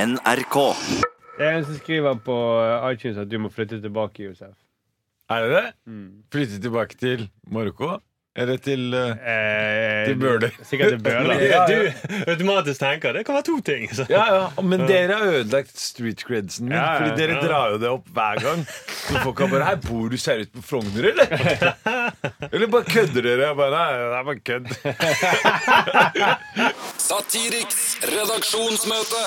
NRK. Det er en som skriver på eh, iTunes at du må flytte tilbake, Josef. Er det det? Mm. Flytte tilbake til Marokko? Eller til eh, Eh, Til Bøler. Sikkert til Bøler. Ja, ja. Du automatisk tenker det kan være to ting. Så. Ja, ja, Men dere har ødelagt street credsen min. Ja, ja, fordi dere ja. drar jo det opp hver gang. Så folk er bare Her bor du seriøst på Frogner, eller? Eller bare kødder dere? Jeg bare, Nei, det er bare kødd. Satiriks redaksjonsmøte.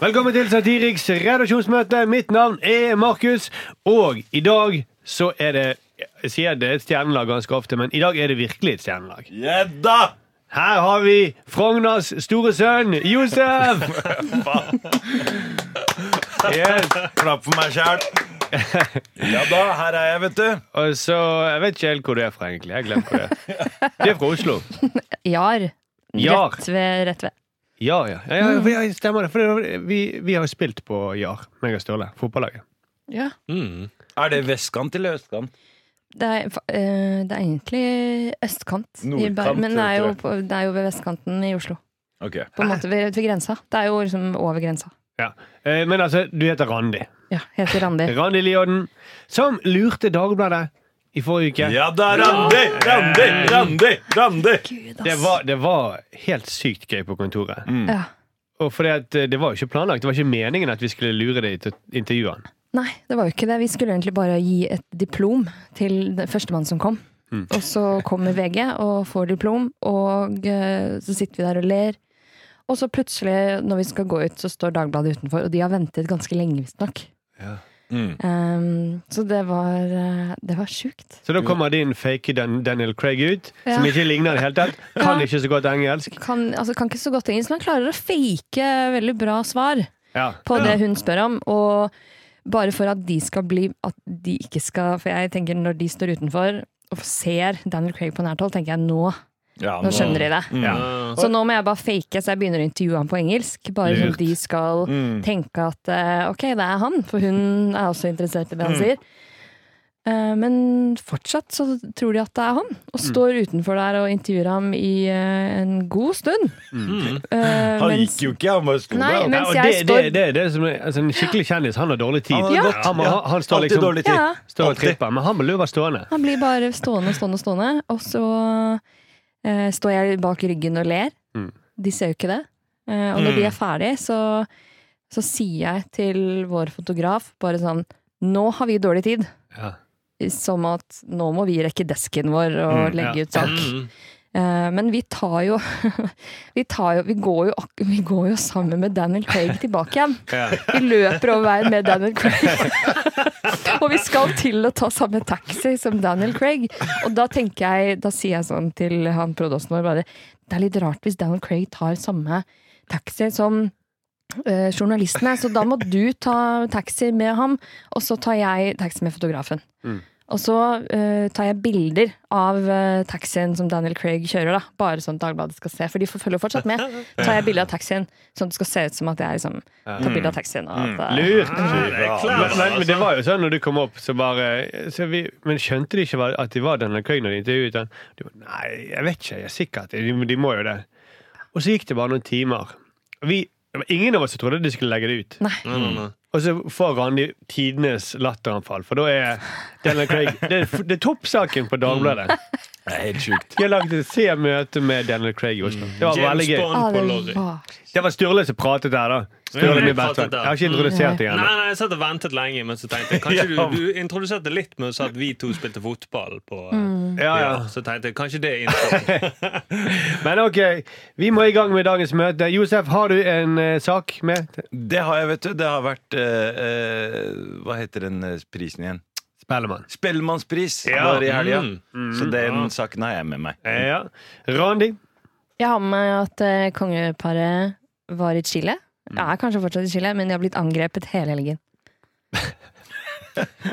Velkommen til Satiriks redaksjonsmøte. Mitt navn er Markus, og i dag så er det Jeg sier det er et stjernelag ganske ofte, men i dag er det virkelig et stjernelag. Gjedda! Her har vi Frogners store sønn Josef! yes. Klapp for meg sjæl. Ja da, her er jeg, vet du. Og så, Jeg vet ikke helt hvor du er fra, egentlig. Jeg glemmer hvor det er. Du er fra Oslo? Jar. Jar. Rett ved. Rett ved. Ja, ja. ja, ja, Mm. ja stemmer det. For det var- vi, vi har jo spilt på Jar, meg og Ståle. Fotballaget. Ja. Er det vestkant eller østkant? Det er, fa- eh, det er egentlig østkant, i Nordkant, Bergen, men det er, jo tror jeg. på, det er jo ved vestkanten i Oslo. Ok På en måte ved, ved grensa. Det er jo liksom over grensa. Ja. Eh, Men altså, du heter Randi. Ja, heter Randi. Randi Lioden, som lurte Dagbladet i forrige uke. Ja da, Randi! Randi! Randi! Randi! Gud, ass. Det var, det var helt sykt gøy på kontoret. Mm. Ja. Og fordi at eh, Det var jo ikke planlagt. Det var ikke meningen at vi skulle lure deg til å intervjue han. Nei, det var jo ikke det. Vi skulle egentlig bare gi et diplom til den førstemann som kom. Og så kommer VG og får diplom, og eh, så sitter vi der og ler. Og så plutselig, når vi skal gå ut, så står Dagbladet utenfor, og de har ventet ganske lenge, visstnok. Ja. Mm. Um, så det var, eh, det var sjukt. Mm. Så da kommer din fake Dan Daniel Craig ut, Ja. som ikke ligner i det hele tatt. Kan Ja. ikke så godt engelsk. Kan, altså, kan ikke så godt engelsk, men han klarer å fake veldig bra svar. Ja. på det hun spør om. Og bare for at de skal bli At de ikke skal For jeg tenker når de står utenfor og ser Daniel Craig på nært hold, tenker jeg nå. Ja, Nå skjønner de det. Ja. Så nå må jeg bare fake, så jeg begynner å intervjue ham på engelsk. Bare sånn Lurt. at de skal Mm. tenke at eh, ok, det er han, for hun er også interessert i det han sier. Eh, Men fortsatt så tror de at det er han, og står utenfor der og intervjuer ham i eh, en god stund. Eh, Han mens- gikk jo ikke, han bare sto Nei, der. Ja, mens og det, jeg det, står det er det som er altså, En skikkelig kjendis, han har dårlig tid. Han har gått, Han, må- ja. han står Alltid liksom dårlig tid. Ja, står og Alltid. tripper, men han må jo være stående. Han blir bare stående og stående og stående, og så eh, står jeg bak ryggen og ler. Mm. De ser jo ikke det. Eh, og når de er ferdig, så, så sier jeg til vår fotograf bare sånn Nå har vi dårlig tid. Ja. Som at nå må vi rekke desken vår og Mm, ja. legge ut sak. Eh, men vi tar jo Vi, tar jo, vi, går jo ak vi går jo sammen med Daniel Craig tilbake igjen. Vi løper over veien med Daniel Craig. og vi skal til å ta samme taxi som Daniel Craig. Og da tenker jeg, da sier jeg sånn til han prodosten vår bare Det er litt rart hvis Daniel Craig tar samme taxi som eh, journalistene, så da må du ta taxi med ham, og så tar jeg taxi med fotografen. Mm. Og så eh, tar jeg bilder av eh, taxien som Daniel Craig kjører, da. bare sånn at Dagbladet skal se, for de følger fortsatt med. Tar jeg bilde av taxien, sånn at det skal se ut som at jeg liksom, tar bilde av taxien. Og at, eh, Mm. Lurt! det er Men, klart, men, men det altså. var jo sånn når du kom opp, så bare så vi, Men skjønte de ikke hva- at de var Daniel Craig når de intervjuet han? De var, Nei, jeg vet ikke. Jeg er sikker at de, de må jo det. Og så gikk det bare noen timer. Vi, det var ingen av oss som trodde de skulle legge det ut. Nei. Og så får Randi tidenes latteranfall, for da er Daniel Craig Det er, f- det er toppsaken på Dagbladet. Det er helt sjukt. De har lagd et se møte med Daniel Craig i Oslo. Det var veldig James gøy. Bond Ah, på det lorry. Nei, var- Det var Sturle som pratet der, da. Sturle Ja, min jeg beste venn. pratet der. Jeg har ikke introdusert deg ennå. nei, jeg satt og ventet lenge, men så tenkte jeg kanskje du, du introduserte litt med å si at vi to spilte fotball på eh, Ja, ja. ja, Så tenkte jeg kanskje det er introen. Men ok, vi må i gang med dagens møte. Josef, har du en eh, sak med? Det har jeg, vet du. Det har vært eh, eh, Hva heter den eh, prisen igjen? Spellemann. Spellemannspris Ja. var i helga. Mm. Så den saken har jeg med meg. Ja. Randi? Jeg har med meg at eh, kongeparet var i Chile. Mm. Jeg er kanskje fortsatt i Chile, men de har blitt angrepet hele helgen.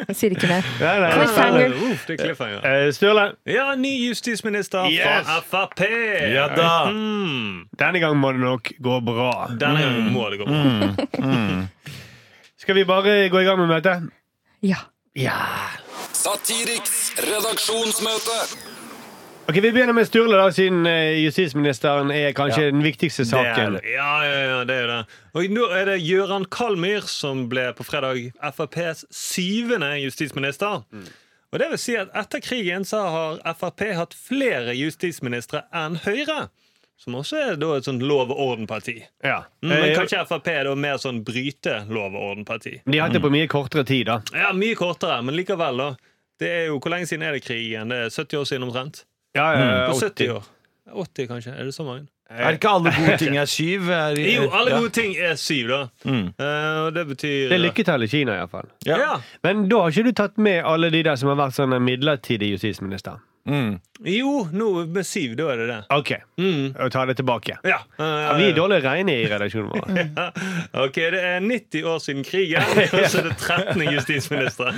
Jeg sier ikke mer. Nei, nei, Kan vi spennende. fange- Uff, det er cliffhanger. Eh, Sturle, Ja, ny justisminister Yes. fra Frp. Ja da. Mm. denne gang må det nok gå bra. Denne gangen må det gå bra. Skal vi bare gå i gang med møtet? Ja. Ja. Satiriks redaksjonsmøte. Ok, Vi begynner med Sturle, da, siden eh, justisministeren er kanskje den viktigste saken. Det er det. Ja, ja, ja, det er jo det. Og nå er det Gøran Kalmyr som ble på fredag FrPs syvende justisminister. Og det vil si at etter krigen så har Frp hatt flere justisministre enn Høyre. Som også er da et sånt lov- og ordenparti. Ja. Mm, Men Eh, kanskje Frp er da mer sånn bryte lov- og ordenparti. De har hatt det Mm. på mye kortere tid, da. Ja, mye kortere, men likevel, da. Det er jo, Hvor lenge siden er det krig igjen? Det er 70 år siden omtrent? Ja, På 80. 70 år. 80, kanskje? Er det så mange? Er ikke alle gode ting er syv? Er, Jo, alle Ja. gode ting er syv, da. Mm. Eh, og det betyr eh, Det er lykketall i Kina, iallfall. Ja. Men da har ikke du tatt med alle de der som har vært sånn midlertidig justisminister. Mm. Jo, nå med syv, da er det det. Ok, og ta det tilbake. Ja. Eh, Ja, vi er dårlig reine i redaksjonen vår. Ok, det er 90 år siden krigen, og så er det 13 justisministre.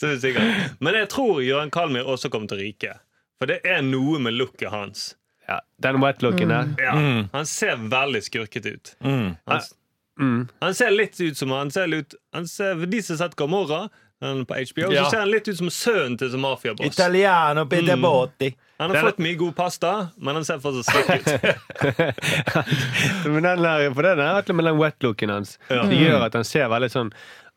Så er vi sikre. Men jeg tror Jøran Kalmyr også kommer til riket. For det er noe med looket hans. Ja, den wetlooken der. Ja. Han ser veldig skurket ut. Mm. Han, han ser litt ut som han ser ut han ser, For de som har sett Gamora den på HBO, Ja. så ser han litt ut som sønnen til som mafiaboss. Italiano pide botti. Han har fått mye god pasta, men han ser fortsatt skurk ut. Men den der, for den er rett og slett med den wetlooken hans. Det Mm. gjør at han ser veldig sånn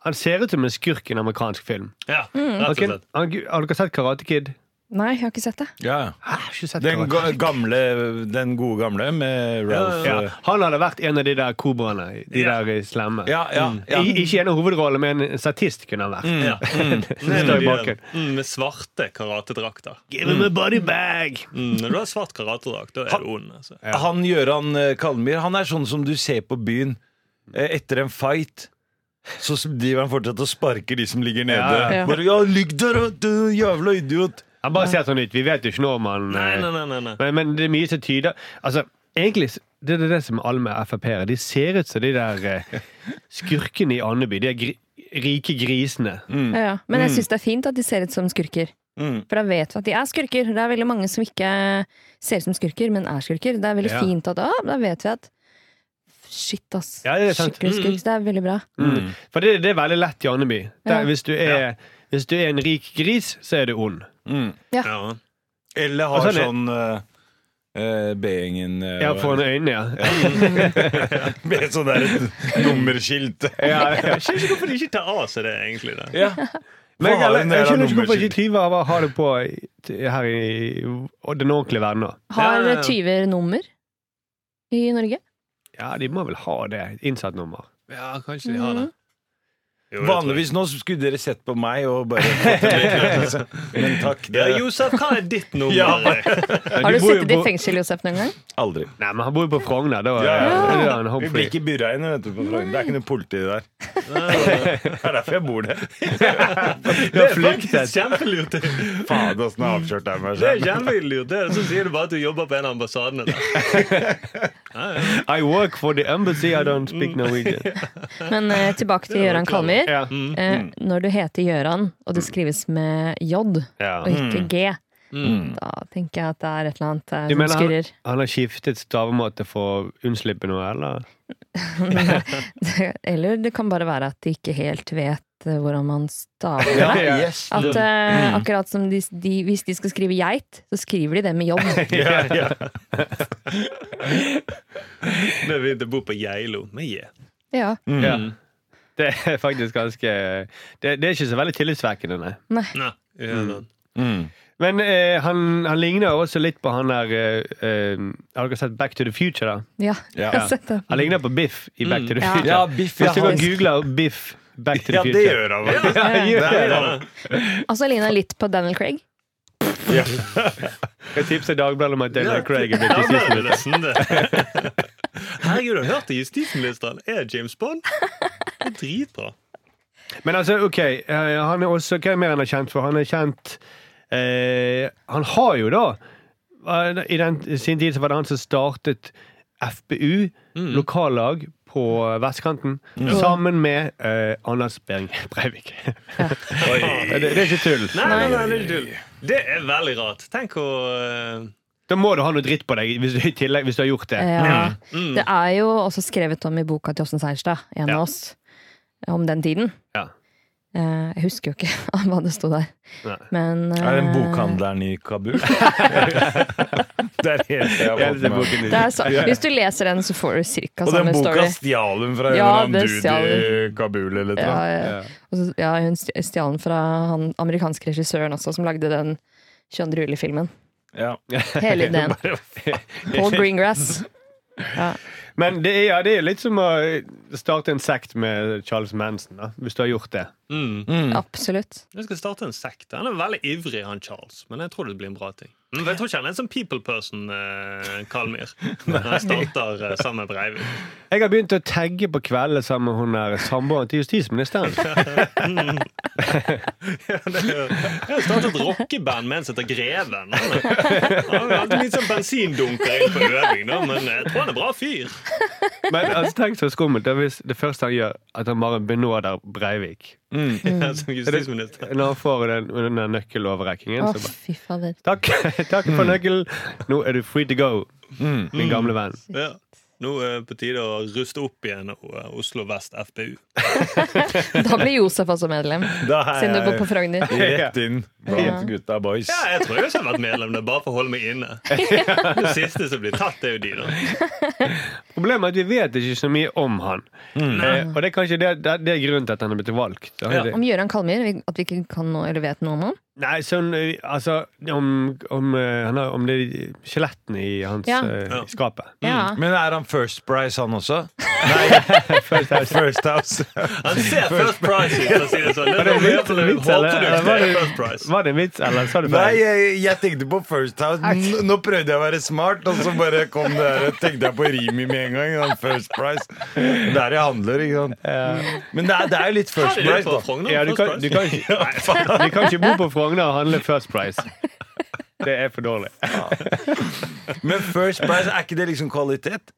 Han ser ut som en skurk i en amerikansk film. Ja, rett og Ok, slett. Mm. han, har dere sett Karate Kid? Nei, jeg har ikke sett det. Ja. Hæ, har ikke sett Den, Karate ga- Kid. gamle, den gode gamle med Ralph. eh, ja, Han hadde vært en av de der kobraene. De Ja. der slemme. Ja, ja, ja. Mm. I, ikke en av hovedrollene, men en statist kunne han vært. Ja. Som Mm. Nei, står i men de- bakgrunnen. Mm, med svarte karatedrakter. Give him a body bag! Mm, når du har svart karatedrakt, da er du ond. Altså. Han Gøran eh, Kalmyr, han er sånn som du ser på byen eh, etter en fight. Så driver han fortsatt og sparker de som ligger nede. Ja, ja. Bare, ja, ligg der, du jævla idiot! Han bare ser sånn ut. Vi vet jo ikke når man Nei, eh, nei, nei, nei, nei. Men, men det er mye som tyder Altså, egentlig s- det er det som alle med Frp-ere. De ser ut som de der eh, skurkene i Andeby. De er gri rike grisene. Ja, ja. Men Mm. jeg syns det er fint at de ser ut som skurker. Mm. For da vet vi at de er skurker. Det er veldig mange som ikke ser ut som skurker, men er skurker. Det er veldig Ja. fint at ah, Da vet vi at Shit, ass. Ja, det er sant. Mm. Skikkelig skurk. Så Det er veldig bra. Mm. For det, det er veldig lett i Andeby. Der, Ja. hvis, du er, hvis du er en rik gris, så er du ond. Mm. Ja. Eller Og har så er det- sånn eh, eh, B-gjengen eh, Ja, hva foran er øynene, ja. det? Med sånn der nummerskilt. ja, ja. Jeg skjønner ikke hvorfor de ikke tar av seg det, egentlig. Det. ja. Men jeg, Hvorfor jeg, har hun det jeg der skjønner ikke hvorfor ikke nummerskilt? tyver bare har det på i- t- her i og den ordentlige verden nå. Har Ja, ja, ja. tyver nummer i Norge? Ja, de må vel ha det. Innsattnummer. Ja, kanskje de har det. Mm. Jo, det tror jeg. Vanligvis nå skulle dere sett på meg og bare fått en bekreftelse. liksom. Men takk, det ja, Josef, hva er ditt nummer? Ja. Men Har de du bor jo sittet i på- fengsel, Josef, noen gang? aldri. Nei, men han bor jo på Frogner. Da Ja, ja. da er han Vi home blir free. ikke byrra inne, vet du. På Frogner. det er ikke noe politi der. Det er derfor jeg bor der. Du har flyktet. Kjempelurt. Det Faen, åssen jeg avslørt det sånn meg er selv. kjempelurt. Det er Så sier du bare at du jobber på en av ambassadene. Der. I work for the embassy, I don't Mm. speak Norwegian. Men eh, tilbake til Gøran Kalmyr. Ja. Mm. Eh, Mm. når du heter Gøran, og det skrives med J og Ja. Mm. ikke G, da tenker jeg at det er et eller annet eh, Du som mener han, skurrer. han har skiftet stavemåte for å unnslippe noe, eller? Eller det kan bare være at de ikke helt vet eh, hvordan man staver. Ja, Ja. Mm. yes. At eh, akkurat som de, de, hvis de skal skrive geit, så skriver de det med J. Ja, ja. Det er vi det bor på Geilo. Med J. Ja. Ja. Mm. Det er faktisk ganske Det, det er ikke så veldig tillitsvekkende, nei. Nei. Ja, da. Mm. Men eh, han, han ligner jo også litt på han der eh, eh, Har dere sett Back to the Future, da? ja. Ja. Jeg har sett det. Han ligner på Biff i Back to the Future. Mm. Ja, Biff, ja, Hvis du kan han- google Biff Back to the ja, det Future. gjør han. faktisk. Ja, gjør Det gjør det. han. Altså ligner han litt på Daniel Craig. Jeg tipser Dagbladet om at Daniel Craig er blitt Ja, justisminister. men det er sånn det. Herregud, har du hørt det? Justisministeren er James Bond. Det er dritbra. Men altså, ok, eh, han er også, hva er mer han er kjent for? Han er kjent eh, Han har jo da eh, I den, sin tid så var det han som startet FBU, lokallag, på vestkanten. Sammen med eh, Anders Behring Breivik. det, det er ikke tull. Nei, nei, nei, det er ikke tull. Det er veldig rart. Tenk å eh, Da må du ha noe dritt på deg hvis du, i tillegg, hvis du har gjort det. Ja. Eh, Det er jo også skrevet om i boka til Åsen Seierstad, en av oss, om den tiden. Ja. Eh, Jeg husker jo ikke hva det sto der. Nei. Men eh, Er den bokhandleren i Kabul? det er helt Jeg Jeg leser våkner. boken det din. er så, hvis du leser den, så får du cirka Og den samme boka story. stjal hun fra en Ja, eller det annen stjal dude i Kabul eller Ja, noe. ja. Og så, ja, hun stj- stjal den fra han amerikanske regissøren også, som lagde den 22. juli-filmen. Ja. Hele ideen. Paul Greengrass. Men det er, ja, det er litt som å starte en sekt med Charles Manson, da, hvis du har gjort det. Mm. Absolutt. Jeg skal starte en sekt. Han er veldig ivrig, han Charles. Men jeg tror det blir en bra ting. Mm, Jeg tror ikke han er en sånn people person, eh, Kalmyr. Når han starter eh, sammen med Breivik. Jeg har begynt å tagge på kveldene sammen med hun der samboeren til justisministeren. Jeg har startet et rockeband med en som heter Greven. Han er- han har alltid litt sånn bensindunker inn på øving, da, men jeg tror han er bra fyr. Men altså, tenk så skummelt det er hvis det første han gjør, at han bare benåder Breivik. Ja, Som justisminister. Når han får den, den der nøkkeloverrekkingen, Å, så bare fy fader. Takk, takk Mm. for nøkkelen, nå er du free to go, min gamle venn. Mm. Ja. Nå er det på tide å ruste opp igjen eh, Oslo Vest FPU. Da blir Josef også medlem, Da siden du er bor på Frogner. jeg rett inn blant gutta boys. Ja, jeg tror jeg også har vært medlem der, bare for å holde meg inne. Det siste som blir tatt, det er jo de, da. Problemet er at vi vet ikke så mye om han. Mm. Eh, og det er kanskje det, det, det er grunnen til at han er blitt valgt. Han er- Om Gøran Kalmyr, vi- at vi ikke kan noe, eller vet noe om han. Nei, sånn eh, Altså, om, om, eh, han har- om det er skjelettene i hans Ja. eh, Ja. skapet. Ja. Men er han First Price, han også? First House. First house. Han ser First Price ut, for å si det sånn. Var Det det er en vits, eller, vits, eller, eller var, hårproduktet er First det, Price. var det en vits, eller sa du Nei, feil? jeg, jeg tenkte på First House. N- Nå prøvde jeg å være smart, og så bare kom det der. Tenkte jeg på Rimi med en gang. ikke sant? First Price. Det er det jeg handler, ikke sant. Men det er, det er jo litt First Er det Price, fra da. Frogner? Ja, du First kan, Price? du, kan ikke, du kan ikke bo på Frogner og handle First Price. Det er for dårlig. Men First Price, er ikke det liksom kvalitet?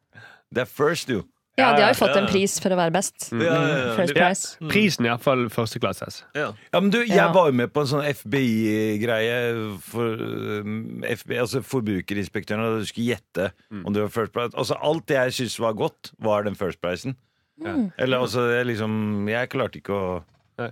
Det er First, jo. ja, de har jo Ja, ja, fått en ja. pris for å være best. Mm. Ja, ja, ja. First Det- price. Prisen er iallfall førsteklasses. Ja. Ja, men du, jeg Ja. var jo med på en sånn FBI-greie for um, FBI, altså forbrukerinspektøren, og du skulle gjette Mm. om du var First Price. Altså, alt jeg syntes var godt, var den First Pricen. Eller altså, jeg liksom Jeg klarte ikke å Nei.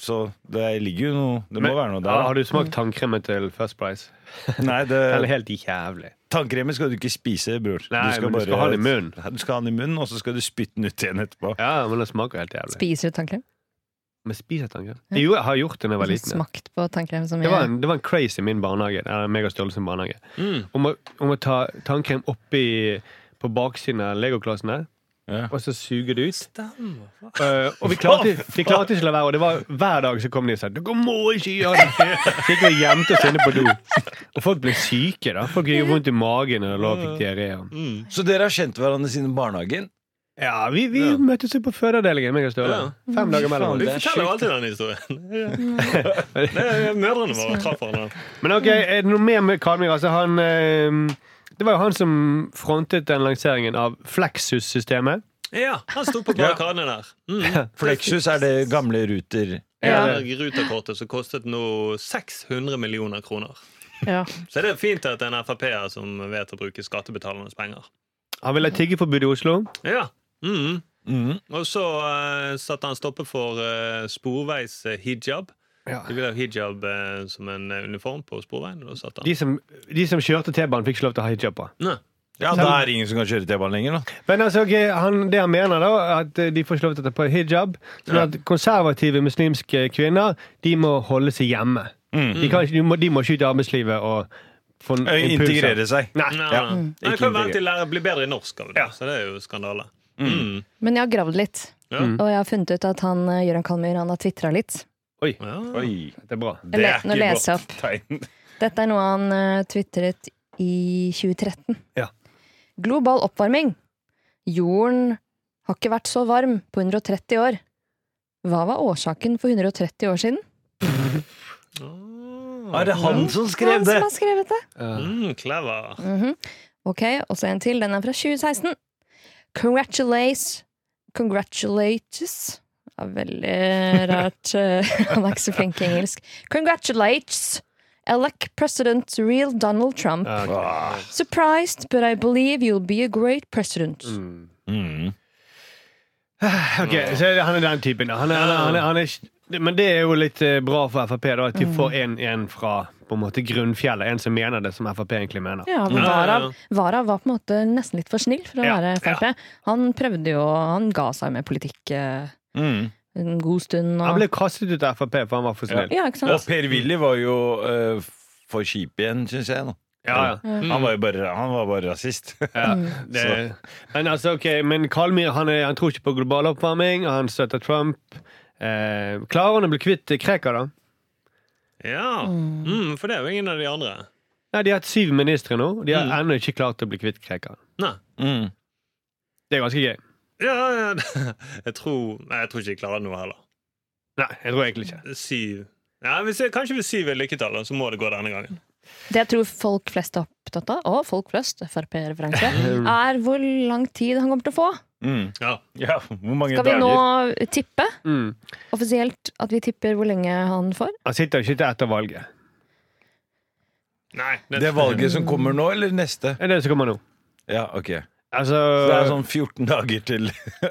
Så det ligger jo noe Det må Men- være noe Ja, har der. du Mm. smakt tannkremen til First Price? da. Nei, Den er det, helt jævlig. tannkremen skal du ikke spise, bror. Nei, men du skal ha den i munnen. Ja, Du skal ha den i munnen, og så skal du spytte den ut igjen etterpå. Ja, men den smaker helt jævlig. Spiser du tannkrem? Sånn Men spiser tannkrem? Jo, jeg har gjort det da jeg var liten. ja. Smakt på tannkrem som Det var, jeg en, det var en craze i min barnehage. Eller meg og Ståle sin barnehage. Mm. Om å, om å ta tannkrem oppi på baksiden av legoklossene, Ja. og så suge det ut. Eh, og vi klarte, vi klarte ikke å la være. Og det var hver dag så kom de og sa Dere må ikke gjøre det! Så gikk vi og gjemte oss inne på do. Og folk ble syke, da. Folk fikk vondt i magen og lå og fikk diaré. og- Så dere har kjent hverandre siden barnehagen? Ja, vi, vi møttes jo på fødeavdelingen, meg og Ståle. Fem dager mellom Du oss. forteller jo alltid den historien. Det er Mødrene våre traff hverandre. Men ok, er det noe mer med Kalmyr? Altså, han eh, Det var jo han som frontet den lanseringen av Flexus-systemet. Ja, han sto på barrikadene der. Mm. Flexus er det gamle Ruter. Ja. Det der Ruterkortet som kostet nå 600 millioner kroner. Ja. Så det er fint at det er en Frp-er som vet å bruke skattebetalernes penger. Han ville ha tiggeforbud i Oslo. Ja. Mm. Mhm. Og så eh, satte han stoppet for eh, sporveis eh, hijab. Ja. De ville ha hijab eh, som en eh, uniform på sporveien. Og da satte han. De som, de som kjørte T-banen, fikk ikke lov til å ha hijab på. Nei. Ja, da er det ingen som kan kjøre T-banen lenger, da. Men altså, ok, han, det han mener, da, at eh, de får ikke lov til å ta på hijab. Sånn at konservative muslimske kvinner de må holde seg hjemme. De, kan, ikke- de, må, de må ikke ut i arbeidslivet og få Ø, impulser. Eh, Integrere seg. Nei. Nei, Ja. nei. Mm. Nei, Ikke kan være integrert. at de lærer, blir bedre i norsk av det, så det er jo skandale. Mm. Men jeg har gravd litt, Ja. og jeg har funnet ut at han eh, Gøran Kalmyr han har tvitra litt. Oi, Ja. Oi, det er bra. Jeg le- nå leser jeg opp. tegn. Dette er noe han uh, tvitret i 2013. Ja. Global oppvarming. Jorden har ikke vært så varm på 130 år. Hva var årsaken for 130 år siden? Er det han som skrev Han det? som har skrevet det. Mm, clever. Mhm. Ok, og så en til. Den er fra 2016. Congratulates. Congratulates. Ja, veldig rart. eh, Han er ikke så flink i engelsk. Congratulates. Elect president real Donald Trump. Ah. Surprised, but I believe you'll be a great president. Mm. Ok, så han er den typen. da. Han er, han er, han er, han er, ikke- men det er jo litt eh, bra for Frp, da, at de får en, en fra på en måte grunnfjellet. En som mener det som Frp egentlig mener. Ja, men Ja, ja, ja. Varav, Varav var på en måte nesten litt for snill for å Ja, være Frp. Han prøvde jo, han ga seg med politikk eh, Mm. en god stund. Han Og, ble kastet ut av Frp, for han var for snill. ja, ikke Og sant? Per-Willy var jo eh, for kjip igjen, syns jeg. Da. Ja, ja. Han, var jo bare, han var bare rasist. Ja, det, men altså, ok, men Kalmyr han, er, han tror ikke på global oppvarming, og han støtter Trump. Eh, klarer han å bli kvitt Krekar, da? Ja, mm, For det er jo ingen av de andre. Nei, De har hatt syv ministre nå, og de har ennå ikke klart å bli kvitt Krekar. Nei. Mm. Det er ganske gøy. Ja, ja, jeg tror Nei, jeg tror ikke jeg klarer noe heller. Nei, jeg tror egentlig ikke. Syv. Ja, hvis jeg, kanskje hvis syv er lykketallet, så må det gå denne gangen. Det jeg tror folk flest er opptatt av, og folk flest, Frp-referanse, er hvor lang tid han kommer til å få. Mm. Ja. Ja, hvor mange Skal vi nå dager? tippe, Mm. offisielt, at vi tipper hvor lenge han får? Han sitter jo ikke til etter valget. Nei, det, Det valget som kommer nå, eller neste? Det er det som kommer nå. Ja, ok Altså, Så det er sånn 14 dager til.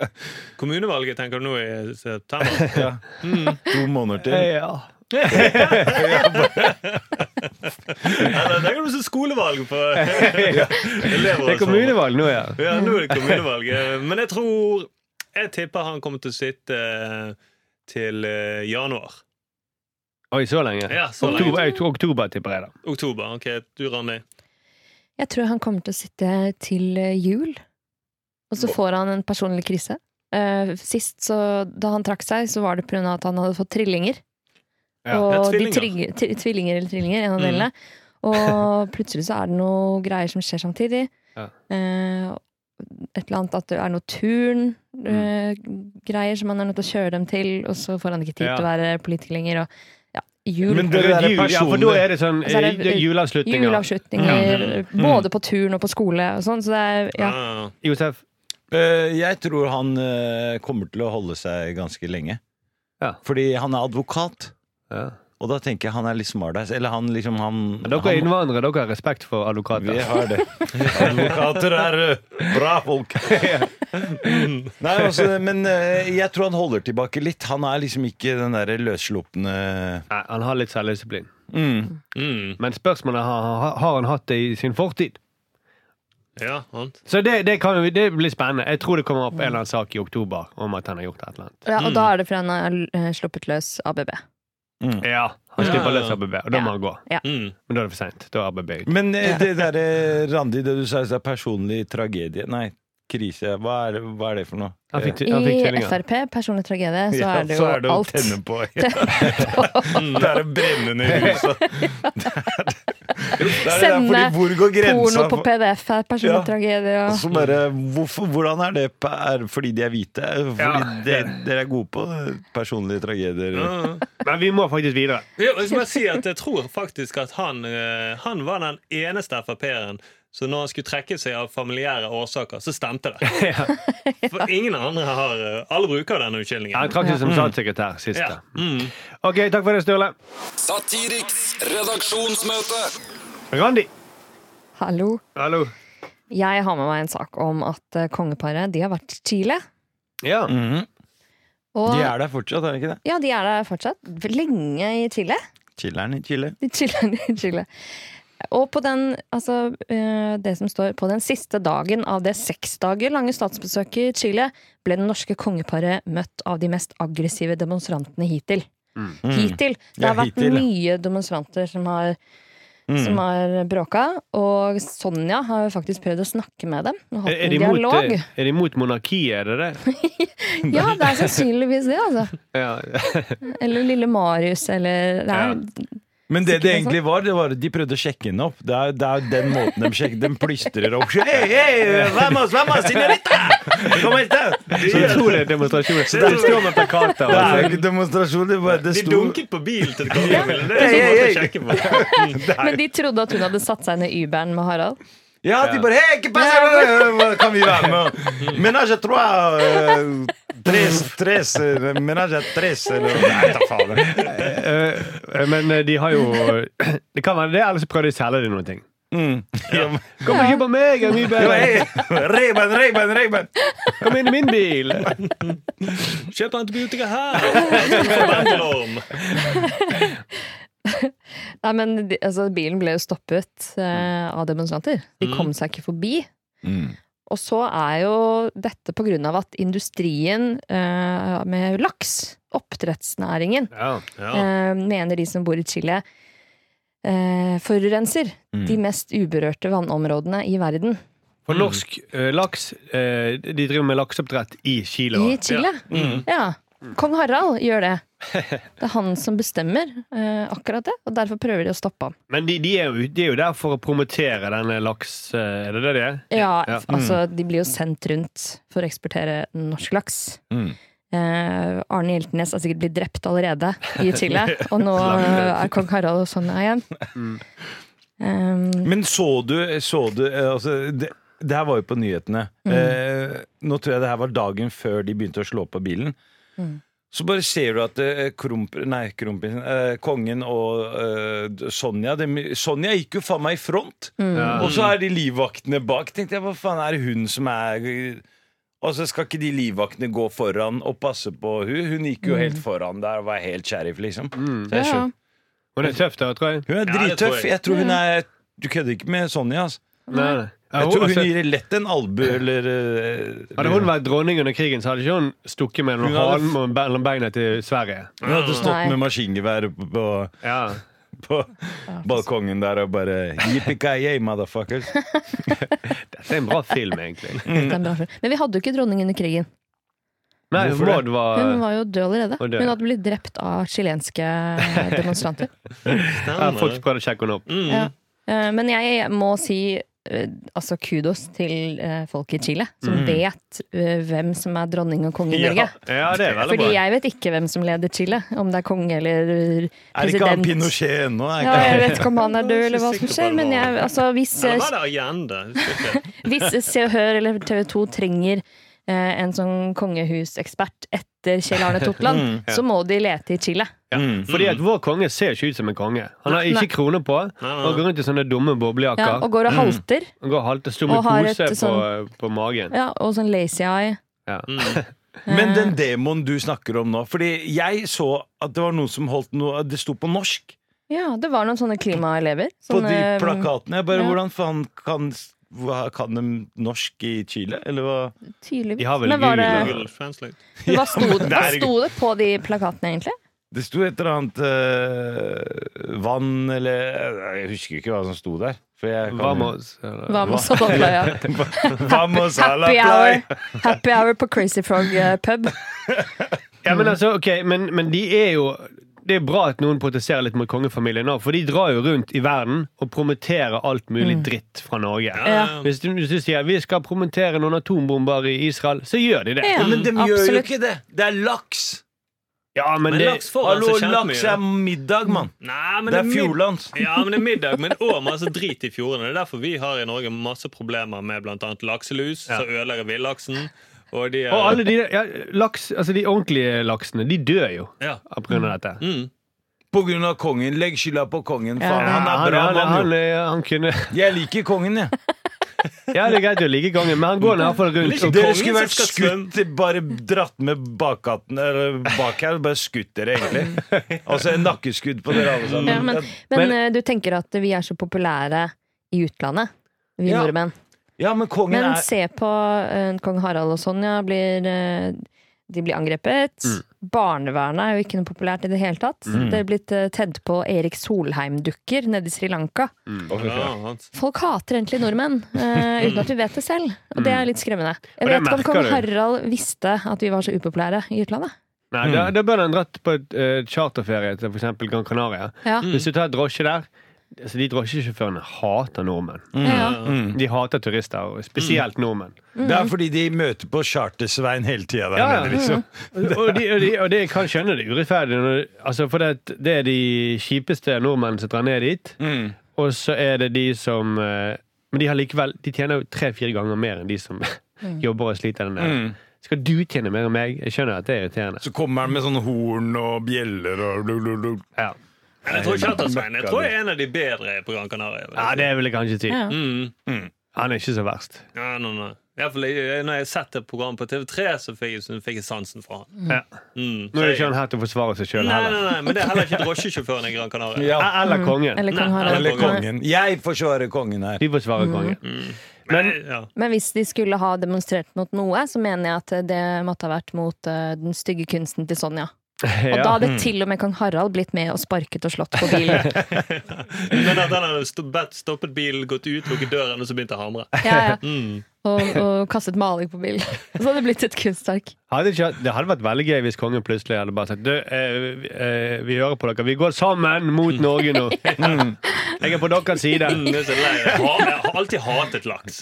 Kommunevalget tenker du nå i september? Ja. Mm. To måneder til. ja. Eller tenker du så skolevalg på elever? Det og er sånn. kommunevalg nå, ja. Ja, nå er det kommunevalg. Men jeg tror Jeg tipper han kommer til å sitte eh, til eh, januar. Oi, så lenge? Ja, så lenge. Oktober, eh, oktober tipper jeg, da. Oktober. OK, du, Randi. Jeg tror han kommer til å sitte til eh, jul, og så får han en personlig krise. Eh, sist, så, da han trakk seg, så var det pga. at han hadde fått trillinger. Ja. og Ja, de tvillinger. trygge- tri- tvillinger eller trillinger, Mm. en av delene. Og plutselig så er det noe greier som skjer samtidig. Ja. Eh, et eller annet at det er noe Mm. turngreier som han er nødt til å kjøre dem til, og så får han ikke tid Ja. til å være politiker lenger. Og, ja, jul. Men det Rundt der jul, ja, for da personene- er det sånn Og så er det- eh, juleavslutninger. Juleavslutninger, både på turn og på skole og sånn. Så det er ja. Ah, Josef, Eh, Jeg tror han eh, kommer til å holde seg ganske lenge. Ja. Fordi han er advokat, ja. og da tenker jeg han er litt smartass. Eller han liksom han, Men dere er han innvandrere, dere har respekt for advokater. Vi har det. Advokater er eh, bra folk. Nei, altså, men eh, jeg tror han holder tilbake litt. Han er liksom ikke den derre løsslupne Nei, han har litt selvdisiplin. mm. mm, Men spørsmålet er har, har han hatt det i sin fortid. ja, sant. Så det, det, kan, jo- det blir spennende. Jeg tror det kommer opp en eller annen sak i oktober om at han har gjort et eller annet. ja, Og da er det fordi han er eh, sluppet løs ABB. mm. Ja, Han Ja. slipper løs ABB, og da Ja. må han gå. Mm. Men da er det for seint. Da er ABB ute. Men eh, det derre, Randi, det du sa i stad, personlig tragedie Nei, krise. Hva er, det- hva er det for noe? Han fikk, han fikk I tvillinger. Frp, personlig tragedie, så Ja, er det jo å alt. tenne på. Det er å brenne ned huset. altså. Det er det der, Sende fordi hvor går grensa Porno på for- PDF er Ja. personlig Altså- tragedie. Og Og... så bare, hvorfor, hvordan er det pe- er det fordi de er hvite? Fordi Ja. de- dere er gode på personlige tragedier. Ah. Men vi må faktisk videre. Ja, og jeg, må bare si at jeg tror faktisk at han, eh, han var den eneste Frp-eren så når han skulle trekke seg av familiære årsaker, så stemte det. For ingen andre har eh, Alle bruker denne Han unnskyldningen. trakk seg som statssekretær sist. Ja. da. Mm. Ok, takk for det, Sturle. Satiriks redaksjonsmøte. Randi. Hallo. Hallo. Jeg har med meg en sak om at eh, kongeparet de har vært i Chile. Ja. Og De er der fortsatt, er de ikke det? ja, de er der fortsatt. Lenge i Chile. Chiller'n i Chile. De chiller i Chile. Og på den, altså, eh, det som står, på den siste dagen av det seks dager lange statsbesøket i Chile, ble det norske kongeparet møtt av de mest aggressive demonstrantene hittil. Mm. Hittil. Det Ja, har vært hittil, ja. mye demonstranter som har, Mm. som har bråka. Og Sonja har jo faktisk prøvd å snakke med dem. Og Er, hatt er, de en imot, dialog. eh, er de imot monarkiet, er det det? Ja, det er sannsynligvis det, altså. Ja. Eller lille Marius, eller det er, Men det det Sikkert det er egentlig var, det var at de prøvde å sjekke henne opp. Det er, det er den måten de sjekker De plystrer opp. Hey, hey, vamos, vamos, señorita! Kom hit! Så utrolig demonstrasjon. Så der- de står med plakater. Det er jo og- ikke demonstrasjon, det er bare det De sto dunket på bilen til kongefamilien. Det Hei, hei, er hei. sånn måte å sjekke på. Men de trodde at hun hadde satt seg ned i Uberen med Harald. Ja, de bare Hei, ikke pass her! Kan vi være med? Menage à trois. eh, Tres, tres, eh, menage à tres. Eller Nei, ta faen. Eh, Men eh, de har jo Det kan være det, ellers prøver de altså å selge dem noen ting. Mm. Kom og kjøp av meg! Jeg er mye bedre. Reben, Reben, Reben! Kom inn i min bil! Kjøp antibiotika her! Nei, men de, altså, bilen ble jo stoppet eh, av demonstranter. De kom seg ikke forbi. Mm. Og så er jo dette på grunn av at industrien eh, med laks, oppdrettsnæringen, Ja. eh, mener de som bor i Chile, eh, forurenser de mest uberørte vannområdene i verden. For norsk eh, laks eh, De driver med lakseoppdrett i Chile. I også. Chile? Ja. Kong Harald gjør det. Det er han som bestemmer eh, akkurat det, og derfor prøver de å stoppe ham. Men de, de, er jo, de er jo der for å promotere denne laks... eh, Er det det de er? Ja, Ja. Mm. altså, de blir jo sendt rundt for å eksportere norsk laks. Mm. Eh, Arne Hjeltnes er sikkert blitt drept allerede i Chile, og nå eh, er kong Harald og sånn igjen. Mm. Um, Men så du, så du eh, altså, det, det her var jo på nyhetene. Eh, nå tror jeg det her var dagen før de begynte å slå på bilen. Så bare ser du at eh, krump, nei, kronprinsen, eh, kongen og eh, d- Sonja de, Sonja gikk jo faen meg i front! Mm. Mm. Og så er de livvaktene bak. Tenkte jeg, Hva faen er det hun som er Og så skal ikke de livvaktene gå foran og passe på hun Hun gikk jo helt foran der og var helt sheriff, liksom. Så jeg skjønner. ja. Og det er tøft, da, tror jeg. Hun er Ja, det tror drittøff. jeg. Jeg tror hun er Du kødder ikke med Sonja. Altså. Nei, nei. Ja, Jeg hun, tror hun altså, gir lett en albu eller eh, hadde hun vært dronning under krigen, så hadde ikke hun stukket mellom Hun hadde- halen og mellom beina til Sverige. Hun hadde stått Nei. med maskingeværet på, på, Ja. på balkongen der og bare Yippee-ki-yay, motherfuckers. Dette er en bra film, egentlig. Det er en bra film. Men vi hadde jo ikke dronning under krigen. Nei, Hvorfor det? Maud var Hun var jo død allerede. Var død. Hun hadde blitt drept av chilenske eh, demonstranter. ja, eh, Folk prøvde å sjekke henne opp. Ja. Eh, Men jeg må si eh, altså kudos til eh, folk i Chile, som vet eh, hvem som er dronning og konge i Ja. Norge. Mm. Ja, det er veldig Fordi bra. jeg vet ikke hvem som leder Chile, om det er konge eller eh, Er det ikke han president. Pinochet ennå? er Ja, ikke jeg han? vet ikke om han er død, eller hva som skjer, men jeg, altså, hvis, Eller var det Agenda? Husker ikke. hvis Se og Hør eller TV 2 trenger eh, en sånn kongehusekspert etter Kjell Arne Totland, så må de lete i Chile. Mm. Fordi at vår konge ser ikke ut som en konge. Han har ikke Nei. krone på. nei. Og går rundt i sånne dumme Ja, boblejakker. og går og halter. Han går halvt og stor med Og har pose et sånn- på, på magen. Ja, og sånn lazy eye. Ja. Mm. Men den demoen du snakker om nå Fordi jeg så at det var noen som holdt noe Det sto på norsk Ja, det var noen sånne klimaelever. eh, på de sånne, um, plakatene. Jeg bare, ja. Hvordan faen kan hva- Kan de norsk i Chile, eller hva? Tydeligvis. De har vel Men var det, Google Translate. hva, sto, det- hva det er- sto det på de plakatene, egentlig? Det sto et eller annet eh, vann eller eh, Jeg husker ikke hva som sto der. For jeg kan- Vamos. eller- Hva med Sotopla, ja. Vamos a la Happy hour, play. happy hour på Crazy Frog eh, pub. Ja, men altså, ok, men, men de er jo det er bra at noen protesterer litt mot kongefamilien nå, for de drar jo rundt i verden og promoterer alt mulig Mm. dritt fra Norge. Ja. Hvis, du, hvis du sier vi skal promotere noen atombomber i Israel, så gjør de det. Ja, Men de gjør jo absolutt. ikke det! Det er laks! Ja, men Men det, laks får Hallo, altså laks er kjempemye. middag, mann! Nei, men Det er mid- fjordlands. Ja, men det er middag, men òg masse drit i fjordene. Det er derfor vi har i Norge masse problemer med bl.a. lakselus, som ødelegger villaksen. Og de er, og alle de, ja, laks, altså de ordentlige laksene, de dør jo Ja. av grunn av dette. Mm. På grunn av kongen. Legg skylda på kongen. Faen, Ja, han er bra han, han, mann. jo. han kunne Jeg liker kongen, jeg. Ja, det er greit å like kongen, men han går i hvert fall rundt og Dere kongen skulle vært som skal skutt, bare dratt med bakgaten Eller bak her. Bare skutt dere, egentlig. Altså nakkeskudd på dere alle Ja, men sammen. men eh, du tenker at vi er så populære i utlandet, vi Ja. nordmenn. Ja, men kongen Men er se på eh, kong Harald og Sonja blir eh, De blir angrepet. Barnevernet er jo ikke noe populært i det hele tatt. Det er blitt eh, tedd på Erik Solheim-dukker nede i Sri Lanka. Ja, hans. Folk hater egentlig nordmenn, eh, uten at vi vet det selv. Og det er litt skremmende. Og Jeg det vet ikke om merker kong du. Harald visste at vi var så upopulære i utlandet. Nei, da, da bør han dratt på et eh, charterferie til f.eks. Gran Canaria. Ja. Mm. Hvis du tar drosje der altså De drosjesjåførene hater nordmenn. Ja. Mm. De hater turister, og spesielt nordmenn. Det Mm. er fordi de møter på Charter-Svein hele tida. Ja, ja. Ja, liksom. Og, de, og, de, og det jeg kan skjønne det er urettferdig. når- Altså, for det, at det er de kjipeste nordmennene som drar ned dit. Mm. Og så er det de som eh, Men de har likevel De tjener jo tre-fire ganger mer enn de som Mm. jobber og sliter der nede. Mm. Skal du tjene mer enn meg? Jeg skjønner at det er irriterende. Så kommer han med sånn horn og bjeller og blu, blu, blu. Ja. Men jeg tror ikke at det er Svein. Jeg tror jeg er en av de bedre på Gran Canaria. vil jeg Ja, si. det vil jeg kanskje si. Ja. Mm. Han er ikke så verst. Ja, no, no. I hvert fall jeg- når jeg har sett det programmet på TV3, så fikk jeg, så fikk jeg sansen for han. Ja. Mm. Nå er Så det ikke jeg- han her til å forsvare seg sjøl Nei, heller. nei, nei, men det er heller ikke drosjesjåføren i Gran Canaria. Ja. Eller kongen. Mm. Eller kong Nei, Harald. eller Kongen. Jeg forsvarer kongen her. De Mm. forsvarer Mm. kongen. Men, ja. Men hvis de skulle ha demonstrert mot noe, så mener jeg at det måtte ha vært mot eh, den stygge kunsten til Sonja. Og da Ja. hadde til og med kong Harald blitt med og sparket og slått på bilen. men at han hadde sto- bedt- stoppet bilen, gått ut, lukket døren, og så begynte å hamre. Ja, ja. Mm. Og, og kastet maling på bilen. Så hadde det blitt et kunstverk. Hadde ikke, det hadde vært veldig gøy hvis kongen plutselig hadde bare sagt Du, eh, vi- eh, vi hører på dere. Vi går sammen mot Norge nå. Jeg er på deres side. Mm, jeg er så lei. Jeg har- jeg har alltid hatet laks.